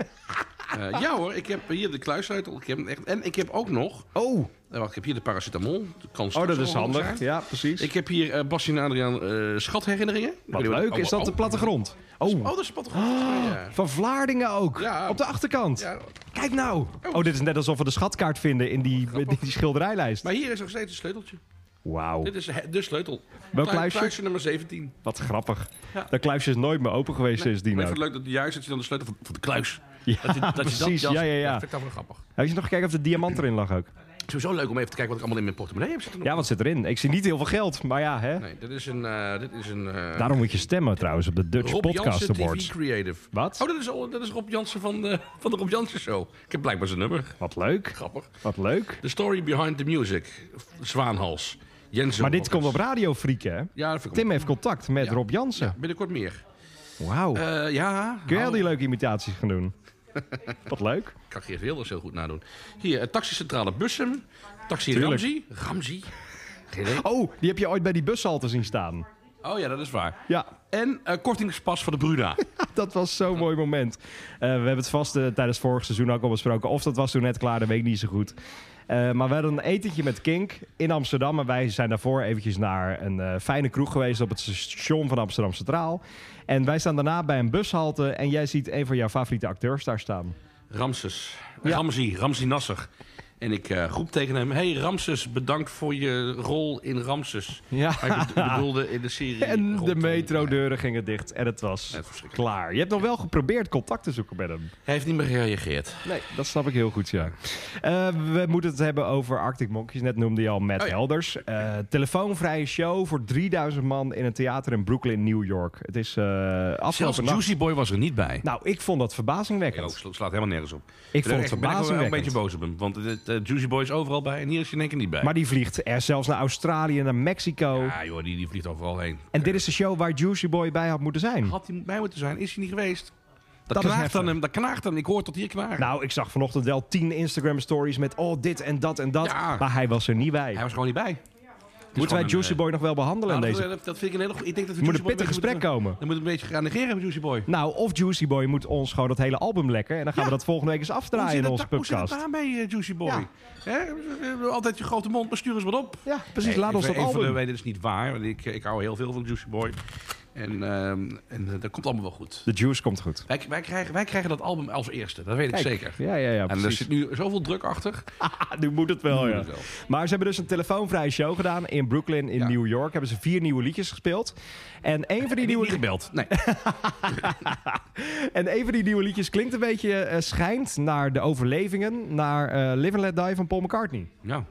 Eh, ja hoor, ik heb hier de kluissleutel. Ik heb hem echt, en ik heb ook nog... Oh, eh, wacht, ik heb hier de paracetamol. Dat kan oh straks dat nog is wel handig. zijn. Ja, precies. Ik heb hier eh Bas en Adriaan eh, schatherinneringen. Ik weet Wat niet leuk, is oh, dat de oh. plattegrond? Oh, Oh, dat is de plattegrond. Ja. van Vlaardingen ook. Ja. Op de achterkant. ja, Kijk nou. Oh, dit is net alsof we de schatkaart vinden in die, in die schilderijlijst. Maar hier is nog steeds een sleuteltje. Wauw. Dit is he- de sleutel. Welk Klui- kluisje? nummer 17. Wat grappig. Dat kluisje is nooit meer open geweest sinds Maar die ik vind het leuk dat juist dat je dan de sleutel van, van de kluis Ja, dat, hij- dat je dat precies. jas- Ja, ja, ja. Dat vind ik dan wel grappig. Heb je nog gekeken of de diamant erin lag ook? Het is sowieso leuk om even te kijken wat ik allemaal in mijn portemonnee heb zitten. Ja, wat zit erin? Ik zie niet heel veel geld, maar ja, hè? Nee, dit is een... eh dit is een eh, Daarom moet je stemmen trouwens op de Dutch Rob Podcast Jansen Awards. TV Creative. Wat? Oh, dat is, al- dat is Rob Jansen van de, van de Rob Jansen Show. Ik heb blijkbaar zijn nummer. Wat leuk. Grappig. Wat leuk. The Story Behind the Music. Zwaanhals. Jens Maar dit Rockers. komt op Radio Frieken, hè? Ja, dat vind ik Tim heeft contact met Rob Jansen. Binnenkort meer. Wauw. Eh, ja. Kun jij al nou, die leuke imitaties gaan doen? Wat leuk. Oh, Ik kan Geert Wilders heel goed nadoen. Hier, eh, taxicentrale Bussum. Taxi Tuurlijk. Ramzi. Ramzi. Geen idee. Oh, die heb je ooit bij die bushalte zien staan. Oh ja, dat is waar. Ja, En eh, kortingspas voor de Bruna. dat was zo'n mooi moment. Eh, we hebben het vast eh, tijdens vorig seizoen ook al besproken. Of dat was toen net klaar, dat weet ik niet zo goed. Eh, maar we hadden een etentje met Kink in Amsterdam. En wij zijn daarvoor eventjes naar een eh, fijne kroeg geweest op het station van Amsterdam Centraal. En wij staan daarna bij een bushalte. En jij ziet een van jouw favoriete acteurs daar staan. Ramses. Ramzi. Ramzi Nasser. En ik eh, roep tegen hem. Hey Ramses, bedankt voor je rol in Ramses. Ja. Maar Ah, ik bedo- bedoelde in de serie... En rond de een- metrodeuren gingen dicht. En het was Ja, verschrikkelijk. klaar. Je hebt nog wel geprobeerd contact te zoeken met hem. Hij heeft niet meer gereageerd. Nee, dat snap ik heel goed, ja. Eh, we moeten het hebben over Arctic Monkeys. Net noemde je al Matt Oh ja. Helders. Eh, telefoonvrije show voor 3000 man in een theater in Brooklyn, New York. Het is eh Zelfs afgelopen nacht- Juicy Boy was er niet bij. Nou, ik vond dat Ik ook, verbazingwekkend. sla- slaat helemaal nergens op. Ik vond het ben ik wel een verbazingwekkend. beetje boos op hem. Want het, eh, Juicy Boy is overal bij en hier is hij in één keer niet bij. Maar die vliegt er zelfs naar Australië, naar Mexico. Ja joh, die, die vliegt overal heen. En dit is de show waar Juicy Boy bij had moeten zijn. Had hij bij moeten zijn, is hij niet geweest. Dat, Dat is knaagt heftig. aan hem, dat knaagt aan hem. Ik hoor tot hier knagen. Nou, ik zag vanochtend wel 10 Instagram stories met oh, dit en dat en dat. Ja. Maar hij was er niet bij. hij was gewoon niet bij. Moeten wij gewoon een, Juicy eh, Boy nog wel behandelen Nou, in dat- deze... dat, dat vind ik een hele... Ik denk dat we Moet Juicy een pittig Boy een beetje gesprek moeten- komen. Dan moet een beetje gaan negeren met Juicy Boy. Nou, of Juicy Boy moet ons gewoon dat hele album lekken. En dan gaan Ja. we dat volgende week eens Hoe afdraaien zit in het onze daar- hoe zit het podcast. daarmee, eh, Juicy Boy? Ja. Hè? Eh, Altijd je grote mond, maar stuur eens wat op. Ja, precies. Nee, Dus laat ons dat even- even- album. Nee, dit is niet waar. Want ik, ik hou heel veel van Juicy Boy. En, ehm, en eh, dat komt allemaal wel goed. De Juice komt goed. Wij, wij, krijgen, wij krijgen dat album als eerste. Dat weet ik zeker. Ja, ja, ja. en er Precies. zit nu zoveel druk achter. Ah, nu moet het wel, Nu ja. moet het wel. Maar ze hebben dus een telefoonvrije show gedaan in Brooklyn in Ja. New York. Hebben ze vier nieuwe liedjes gespeeld. En een van die, Die nieuwe, niet gebeld. Nee. en een van die nieuwe liedjes klinkt een beetje eh, schijnt naar de overlevingen. Naar eh, Live and Let Die van Paul McCartney. Ja.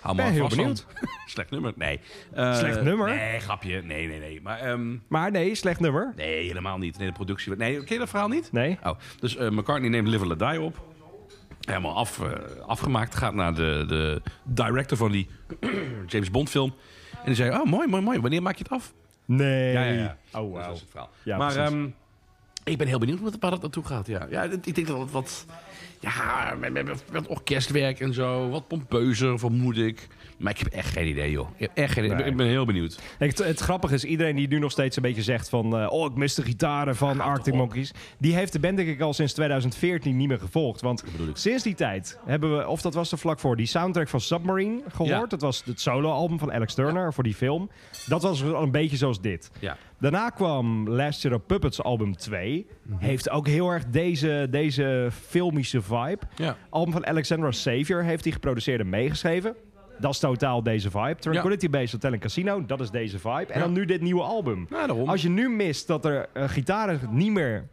Hou Ben heel vast, benieuwd. want- Slecht nummer. Nee. Eh, Slecht nummer? Nee, grapje. Nee, nee, nee. Maar ehm, Maar nee, slecht nummer. nee, helemaal niet. Nee, de productie. Nee, ken je dat verhaal niet? Nee. Oh, dus eh, McCartney neemt Live and Let Die op. Helemaal af, eh, afgemaakt. Gaat naar de, de director van die James Bond film. En die zei, oh mooi, mooi, mooi. Wanneer maak je het af? Nee. Oh, Oh, wow. Dat wauw. is het verhaal. Ja, maar precies. ehm, ik ben heel benieuwd wat- waar dat naartoe gaat. Ja, ja ik denk dat het wat... Ja, met, met, met orkestwerk en zo. Wat pompeuzer, vermoed ik. Maar ik heb echt geen idee, joh. Ik, heb echt geen idee. Nee. ik ben heel benieuwd. Nee, Het, het grappige is, iedereen die nu nog steeds een beetje zegt van... eh, oh, ik mis de gitaren van Arctic op. Monkeys. Die heeft de band denk ik al sinds 2014 niet meer gevolgd. Want sinds die tijd hebben we, of dat was er vlak voor... die soundtrack van Submarine gehoord. Ja. Dat was het soloalbum van Alex Turner voor die film. Dat was al een beetje zoals dit. Ja. Daarna kwam Last Year of Puppets album 2. Mhm. Heeft ook heel erg deze, deze filmische vibe. Ja. Album van Alexandra Savior heeft hij geproduceerd en meegeschreven. Dat is totaal deze vibe. Tranquility Base Hotel en Casino, dat is deze vibe. En Ja. dan nu dit nieuwe album. Ja, daarom. Als je nu mist dat er eh, gitaren niet meer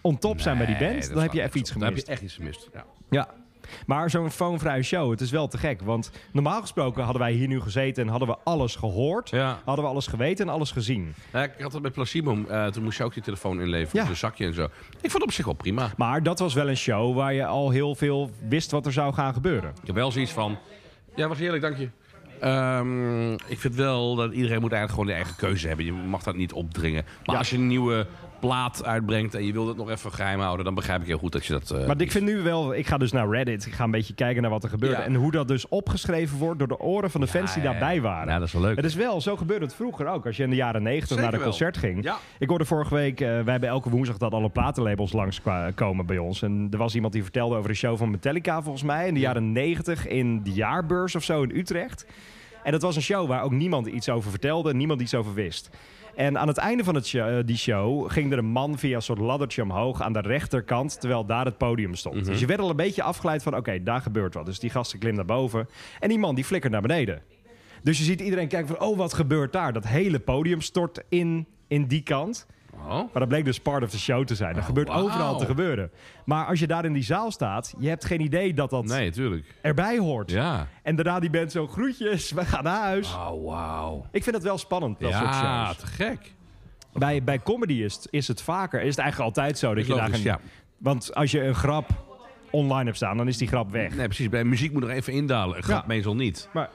on top zijn bij die Nee, band... dat dan heb je slaat niks even iets op. Dan heb gemist. je echt iets gemist, ja. Ja. Maar zo'n phonevrije show, het is wel te gek. Want normaal gesproken hadden wij hier nu gezeten en hadden we alles gehoord. Ja. Hadden we alles geweten en alles gezien. Ja, Nou, ik had dat bij Placebo. eh, toen moest je ook je telefoon inleveren. Ja. Ja. Een zakje en zo. Ik vond het op zich wel prima. Maar dat was wel een show waar je al heel veel wist wat er zou gaan gebeuren. Ik heb wel zoiets van... Ja, was heerlijk, dank je. Ehm, ik vind wel dat iedereen moet eigenlijk gewoon de eigen keuze hebben. Je mag dat niet opdringen. Maar Ja. als je een nieuwe plaat uitbrengt en je wil dat nog even geheim houden... dan begrijp ik heel goed dat je dat... eh, Maar ik vind nu wel, ik ga dus naar Reddit, ik ga een beetje kijken naar wat er gebeurde. Ja. En hoe dat dus opgeschreven wordt door de oren van de fans die ja, ja. daarbij waren. Ja, dat is wel leuk. Het is wel, zo gebeurde het vroeger ook. Als je in de jaren negentig Zeker naar een wel. concert ging. Ja. Ik hoorde vorige week, eh, wij hebben elke woensdag dat alle platenlabels langskomen bij ons. En er was iemand die vertelde over de show van Metallica volgens mij. In de jaren negentig in de jaarbeurs of zo in Utrecht. En dat was een show waar ook niemand iets over vertelde, niemand iets over wist. En aan het einde van het sho- eh, die show ging er een man via een soort laddertje omhoog aan de rechterkant, terwijl daar het podium stond. Mhm. Dus je werd al een beetje afgeleid van, oké, daar gebeurt wat. Dus die gasten klim naar boven en die man die flikkert naar beneden. Dus je ziet iedereen kijken van, oh, wat gebeurt daar? Dat hele podium stort in, in die kant. Oh. Maar dat bleek dus part of the show te zijn. Dat gebeurt wauw. overal te gebeuren. Maar als je daar in die zaal staat, je hebt geen idee dat dat Nee, tuurlijk. erbij hoort. Ja. En daarna die band zo, groetjes, we gaan naar huis. Oh, wauw. Ik vind het wel spannend, dat soort Ja, shows. te gek. Bij, bij comedy is het, is het vaker, is het eigenlijk altijd zo. Dat je daar Logisch, geen- ja. Want als je een grap online hebt staan, dan is die grap weg. Nee, precies. Bij muziek moet er even indalen. Gaat Ja. meestal niet. Maar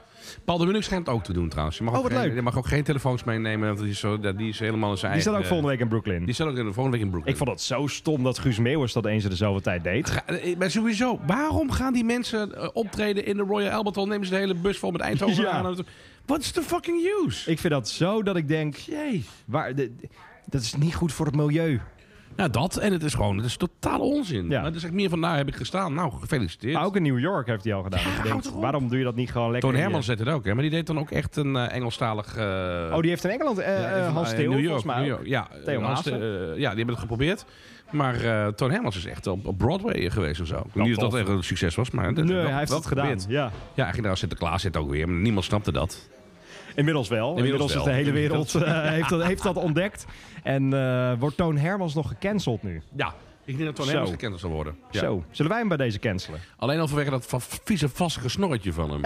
Paul de Munnik schijnt het ook te doen trouwens. Je mag, Oh, ook wat geen, leuk. je mag ook geen telefoons meenemen. Want die is, zo, die is helemaal in zijn die eigen... staat ook volgende week in Brooklyn. Die staat ook in de volgende week in Brooklyn. Ik vond dat zo stom dat Guus Meeuwers dat eens in de zoveel tijd deed. Ga- eh, maar sowieso, waarom gaan die mensen eh, optreden in de Royal Albert Hall? Nemen ze de hele bus vol met Eindhoven Ja. aan? Wat is de fucking use? Ik vind dat zo dat ik denk, Jee. waar, de- de- dat is niet goed voor het milieu. Nou, dat. En het is gewoon, het is totaal onzin. Ja. Maar het is echt meer van, nou heb ik gestaan. Nou, gefeliciteerd. Maar ook in New York heeft hij al gedaan. Dat je hou denkt, toch op. waarom doe je dat niet gewoon lekker? Toon in je- Hermans zet het ook, hè? Maar die deed dan ook echt een eh, Engelstalig... eh, Oh, die heeft in Engeland eh, Ja, eh, even, Hans eh, Theo, New York, volgens mij. New ook. York. Ja, Theo Hans Maassen. Theo, eh, ja, die hebben het geprobeerd. Maar eh Toon Hermans is echt op, op Broadway geweest en zo. Ik weet niet dat tof. dat echt een succes was, maar... Nee, hij heeft het gedaan. Ja. Ja, hij ging daar als Sinterklaas zit ook weer, maar niemand snapte dat. Inmiddels wel. Inmiddels, wel. is de hele wereld eh, heeft, dat, heeft dat ontdekt. En eh, wordt Toon Hermans nog gecanceld nu? Ja, ik denk dat Toon Zo. Hermans gekend zal worden. Ja. Zo. Zullen wij hem bij deze cancelen? Alleen al vanwege dat va- vieze, vassige snorretje van hem.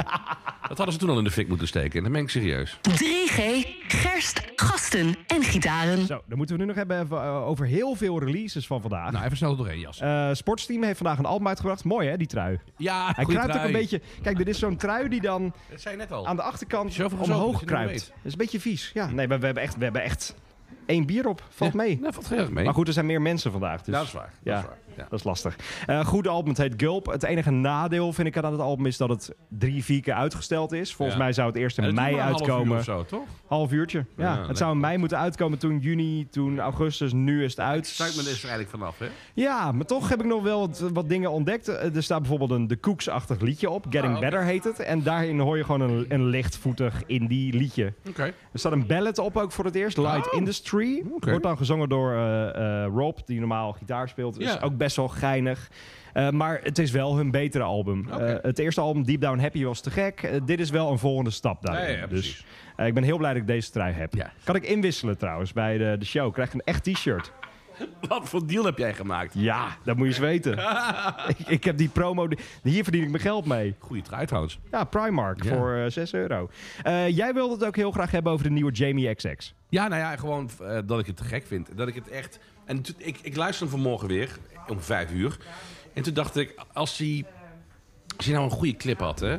dat hadden ze toen al in de fik moeten steken. En dan ben ik serieus. 3G, gerst, gasten en gitaren. Zo, dan moeten we nu nog hebben even, eh, over heel veel releases van vandaag. Nou, even snel er doorheen, Jas. Eh, Sportsteam heeft vandaag een album uitgebracht. Mooi hè, die trui. ja, Hij goeie kruipt ook trui. een beetje... Kijk, dit is zo'n trui die dan Dat zei je net al. aan de achterkant Zoveel gezopen, dat omhoog je het niet kruipt. weet. Dat is een beetje vies. Ja, nee, maar we hebben echt, we hebben echt één bier op. Valt mee. Nou, valt heel erg mee. Maar goed, er zijn meer mensen vandaag. Dus... Nou, dat is waar. Ja, Dat is waar. Ja. dat is lastig. Eh goed album, het heet Gulp. Het enige nadeel vind ik aan het album is dat het drie, vier keer uitgesteld is. Volgens Ja. mij zou het eerst En in dat mei duurt maar een half uur uitkomen. of zo, toch? Half uurtje. Ja, Ja, het nee. zou in mei moeten uitkomen, toen juni, toen augustus, nu is het uit. Zuid men is er eigenlijk vanaf, hè? Ja, maar toch heb ik nog wel wat, wat dingen ontdekt. Eh, Er staat bijvoorbeeld een The Cooks-achtig liedje op. Getting Ah, oké. Better heet het. En daarin hoor je gewoon een, een lichtvoetig indie liedje. Oké. Er staat een ballad op ook voor het eerst. Light Oh. Industry. Oké. Wordt dan gezongen door eh, eh, Rob, die normaal gitaar speelt. Is Ja. ook best wel geinig. Eh, maar het is wel hun betere album. Oké. Eh, het eerste album, Deep Down Happy, was te gek. Eh, dit is wel een volgende stap daarin. Ja, ja, precies. dus eh, ik ben heel blij dat ik deze trui heb. Ja. Kan ik inwisselen trouwens bij de, de show? Krijg ik een echt t-shirt? Wat voor deal heb jij gemaakt? Ja, dat moet je eens weten. ik, ik heb die promo... Hier verdien ik mijn geld mee. Goeie trui trouwens. Ja, Primark Ja. voor eh, 6 euro. Eh, jij wilde het ook heel graag hebben over de nieuwe Jamie XX. Ja, nou ja, gewoon eh, dat ik het te gek vind. Dat ik het echt... En toen- ik, ik luisterde hem vanmorgen weer, om vijf uur. En toen dacht ik, als hij, als hij nou een goede clip had, hè...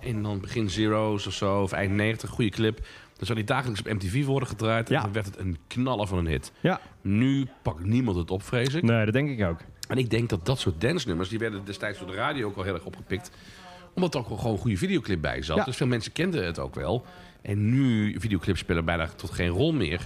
En dan begin zero's of zo, of eind 90, goede clip. Dan zou die dagelijks op MTV worden gedraaid. Ja. En dan werd het een knaller van een hit. Ja. Nu pakt niemand het op, vrees ik. Nee, dat denk ik ook. En ik denk dat dat soort dance-nummers, die werden destijds door de radio ook al heel erg opgepikt. Omdat er ook wel gewoon een goede videoclip bij zat. Ja. Dus veel mensen kenden het ook wel. En nu, videoclips spelen bijna tot geen rol meer.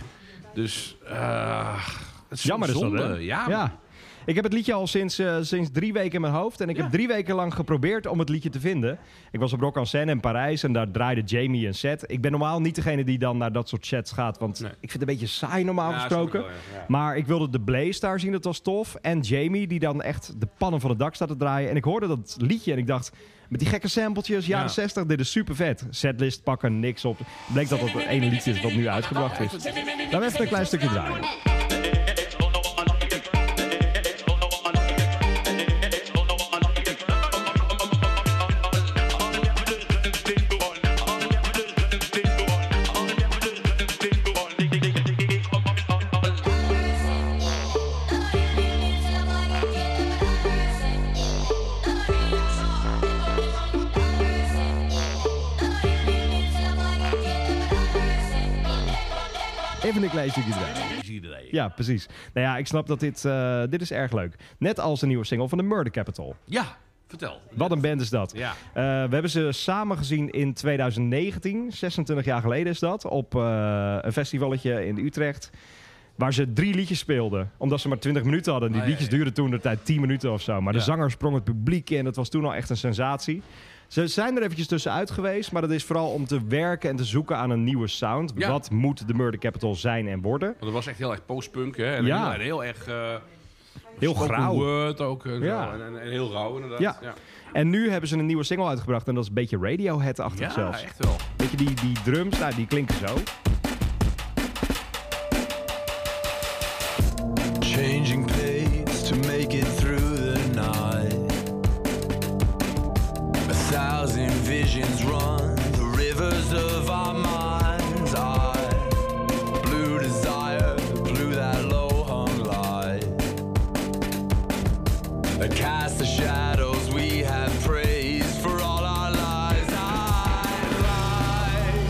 Dus, eh, het is Jammer is zonde. dat, hè? Ja, Ja. Ik heb het liedje al sinds, eh, sinds drie weken in mijn hoofd. En ik heb drie weken lang geprobeerd om het liedje te vinden. Ik was op Rock en Seine in Parijs en daar draaide Jamie een set. Ik ben normaal niet degene die dan naar dat soort sets gaat. Want Nee. ik vind het een beetje saai normaal Ja, gesproken. snap ik wel, ja. Ja. Maar ik wilde de Blaze daar zien, dat was tof. En Jamie die dan echt de pannen van het dak staat te draaien. En ik hoorde dat liedje en ik dacht... Met die gekke sampletjes, jaren Ja. 60, dit is super vet. Setlist pakken, niks op. Bleek dat dat het ene liedje is wat nu uitgebracht is. Laten we even een klein stukje draaien. Even een klein stukje draaien. Ik zie iedereen. Ja. Ja, precies. Nou ja, ik snap dat dit... eh, dit is erg leuk. Net als de nieuwe single van de Murder Capital. vertel. Wat een band is dat. Ja. Eh, we hebben ze samen gezien in 2019. 26 jaar geleden is dat. Op eh, een festivalletje in Utrecht. Waar ze drie liedjes speelden. Omdat ze maar 20 minuten hadden. Die Ah, ja, liedjes ja. duurden toen de tijd 10 minuten of zo. Maar Ja. de zanger sprong het publiek in. Dat was toen al echt een sensatie. Ze zijn er eventjes tussenuit geweest. Maar dat is vooral om te werken en te zoeken aan een nieuwe sound. Ja. Wat moet de Murder Capital zijn en worden? Want dat was echt heel erg postpunk, hè? En Ja. heel, heel erg... eh, Heel spoken grauw. word ook. En, Ja. zo. En, en- en heel rauw, inderdaad. Ja. En nu hebben ze een nieuwe single uitgebracht. En dat is een beetje Radiohead-achtig Ja, zelfs. echt wel. Weet je, die, die drums, nou, die klinken zo.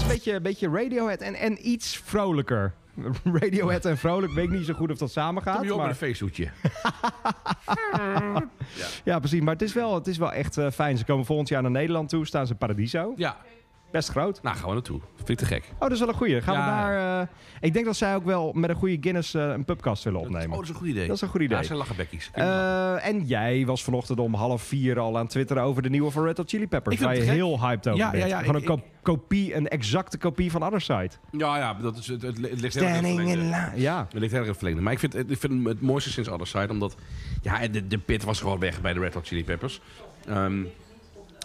beetje, een beetje Radiohead en, en iets vrolijker. Radiohead en vrolijk, weet ik niet zo goed of dat samengaat. Kom je op met een Maar, feesthoedje. ja, precies. Maar het is wel, het is wel echt eh, fijn. Ze komen volgend jaar naar Nederland toe, staan ze in Paradiso. Ja, Best groot. nou gaan we naartoe. Vind ik te gek. Oh, dat is wel een goeie. Gaan we Ja. daar... eh, ik denk dat zij ook wel met een goede Guinness eh, een pubcast willen Oh, opnemen. dat is een goed idee. Dat is een goed idee. Ja, zijn lachenbekkies. Eh, en jij was vanochtend om half vier al aan twitteren over de nieuwe van Red Hot Chili Peppers. Ik vind Waar je het gek. heel hyped over Ja, bent. ja, ja, Gewoon ik- een ko- kopie, een exacte kopie van Other Side. ja, ja, dat is, het, het ligt heel erg in het verleden. Ja. Het ligt heel erg in het verleden. Maar ik vind, het- ik vind hem het mooiste sinds Other Side. Omdat ja, de, de pit was gewoon weg bij de Red Hot Chili Peppers. Ehm,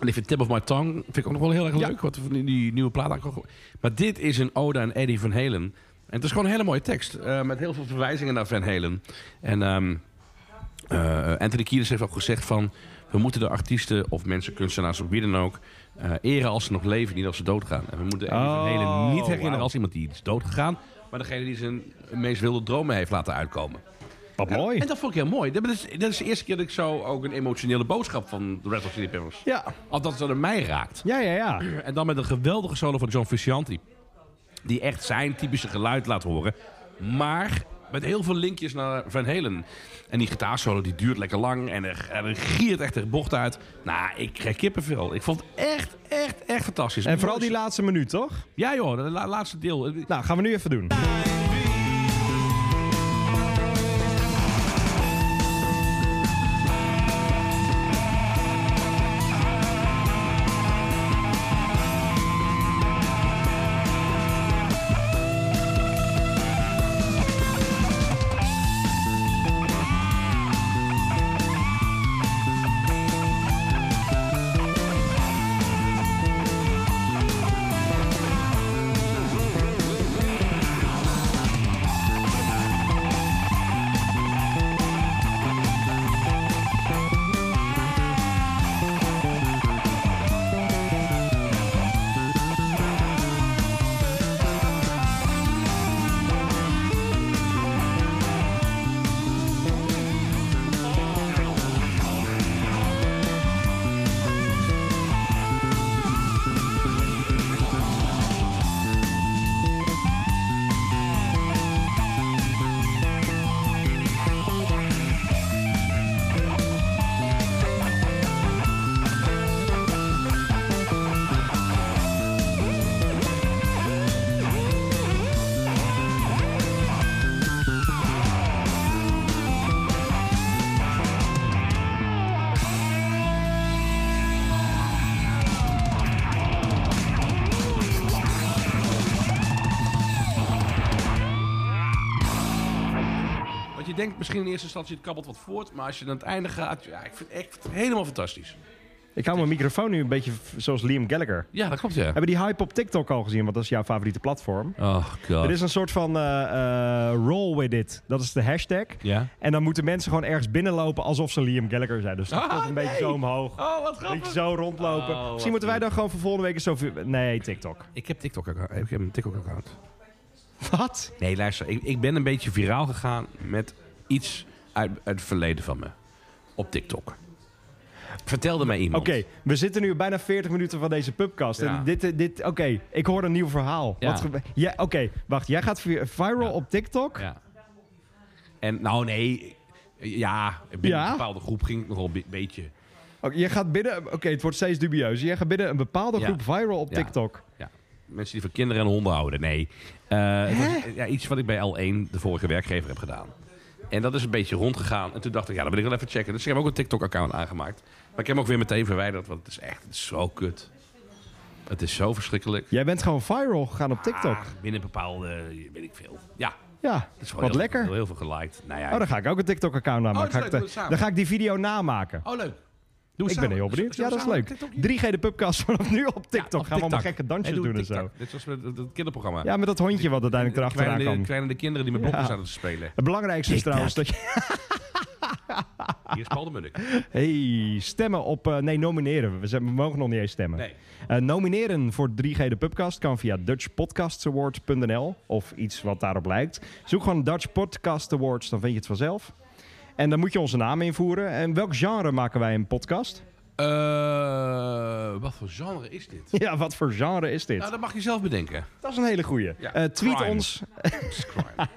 en ik vind Tip of My Tongue vind ik ook nog wel heel erg leuk. Wat van die, die nieuwe plaat aankomen. Maar dit is een ode aan Eddie Van Halen. En het is gewoon een hele mooie tekst. eh, met heel veel verwijzingen naar Van Halen. En ehm, eh, Anthony Kiedis heeft ook gezegd van... We moeten de artiesten of mensen, kunstenaars of wie dan ook... eh, eren als ze nog leven, niet als ze doodgaan. En we moeten Eddie Van Halen Oh, niet herinneren wauw. als iemand die is doodgegaan... maar degene die zijn meest wilde dromen heeft laten uitkomen. Wat mooi. En dat vond ik heel mooi. Dat is, dat is de eerste keer dat ik zo ook een emotionele boodschap van de Red Hot Chili Peppers... Ja. Althans, dat het mij raakt. Ja, ja, ja. En dan met een geweldige solo van John Frusciante. Die echt zijn typische geluid laat horen. Maar met heel veel linkjes naar Van Halen. En die gitaarsolo die duurt lekker lang. En er, en er giert echt de bocht uit. Nou, ik kreeg kippenvel. Ik vond het echt, echt, echt fantastisch. En vooral die laatste minuut, toch? Ja joh, dat la- laatste deel. Eh, Nou, gaan we nu even doen. Want je denkt misschien in eerste instantie het kabbelt wat voort. Maar als je naar het einde gaat, ja, ik vind het echt helemaal fantastisch. Ik hou mijn microfoon nu een beetje v- zoals Liam Gallagher. Ja, dat klopt ja. Hebben die hype op TikTok al gezien? Want dat is jouw favoriete platform. Oh god. Er is een soort van eh, eh, roll with it. Dat is de hashtag. Ja. En dan moeten mensen gewoon ergens binnenlopen alsof ze Liam Gallagher zijn. Dus dat Ah, komt een beetje nee. zo omhoog. Oh, wat Een beetje grappig. zo rondlopen. Oh, wat Misschien moeten wij dan gewoon voor volgende week eens zoveel... Nee, TikTok. Ik heb TikTok account. Ik heb een TikTok account. Wat? Nee, luister. Ik, ik ben een beetje viraal gegaan met iets uit, uit het verleden van me. Op TikTok. Vertelde mij iemand. Oké, we zitten nu bijna 40 minuten van deze pubcast. Ja. En dit, eh, dit oké, ik hoor een nieuw verhaal. Ja. Wat gebe- ja, oké, wacht. Jij gaat vi- viral Ja. op TikTok? Ja. En nou nee. Ja, binnen Ja? een bepaalde groep ging het nogal een beetje. Oké, je Oh, gaat binnen, oké, het wordt steeds dubieus. Jij gaat binnen een bepaalde Ja. groep viral op Ja. TikTok. Ja. Mensen die van kinderen en honden houden. Nee. Eh, het was, ja, iets wat ik bij L1, de vorige werkgever, heb gedaan. En dat is een beetje rondgegaan. En toen dacht ik, ja, dat wil ik wel even checken. Dus ik heb ook een TikTok-account aangemaakt. Maar ik heb hem ook weer meteen verwijderd, want het is echt het is zo kut. Het is zo verschrikkelijk. Jij bent gewoon viral gegaan op TikTok. Ah, binnen bepaalde, weet ik veel. Ja, ja, het is gewoon wat heel, lekker. Heel, heel veel geliked. Nou ja, Oh, dan ga ik ook een TikTok-account dat aanmaken. is Ga ik leuk, de- doe het samen. dan ga ik die video namaken. oh, leuk. Doe het ik ben samen. heel benieuwd. Ja, Zullen we dat is samen leuk. TikTok 3G doen? de pubcast vanaf nu op Ja, TikTok. gaan op we allemaal gekke En dansjes doe doen en zo. TikTok. Net zoals met het het kinderprogramma. Ja, met dat hondje wat uiteindelijk erachteraan Kwijnende, kwam. kwijnende kinderen die met blokjes Ja. aan het spelen. Het belangrijkste is trouwens dat je... Hier is Paul de Munnik. Hey, stemmen op... eh, nee, nomineren. We, zijn, we mogen nog niet eens stemmen. Nee. Eh, nomineren voor 3G de Pubcast kan via dutchpodcastsaward.nl of iets wat daarop lijkt. Zoek gewoon Dutch Podcast Awards, dan vind je het vanzelf. En dan moet je onze naam invoeren. En welk genre maken wij een podcast? Eh, wat voor genre is dit? Ja, wat voor genre is dit? Nou, dat mag je zelf bedenken. Dat is een hele goeie. Ja, Eh, tweet crime. ons, Crime.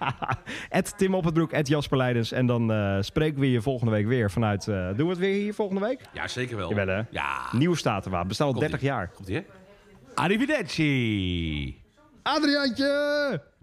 at Tim op het broek, at Jasper Leidens. En dan eh, spreken we je volgende week weer vanuit... eh, doen we het weer hier volgende week? Ja, zeker wel. Jawel, hè? Ja. Nieuwe Statenwapen, bestaan al 30 jaar. Komt ie, hè? Arrivederci. Adriaantje!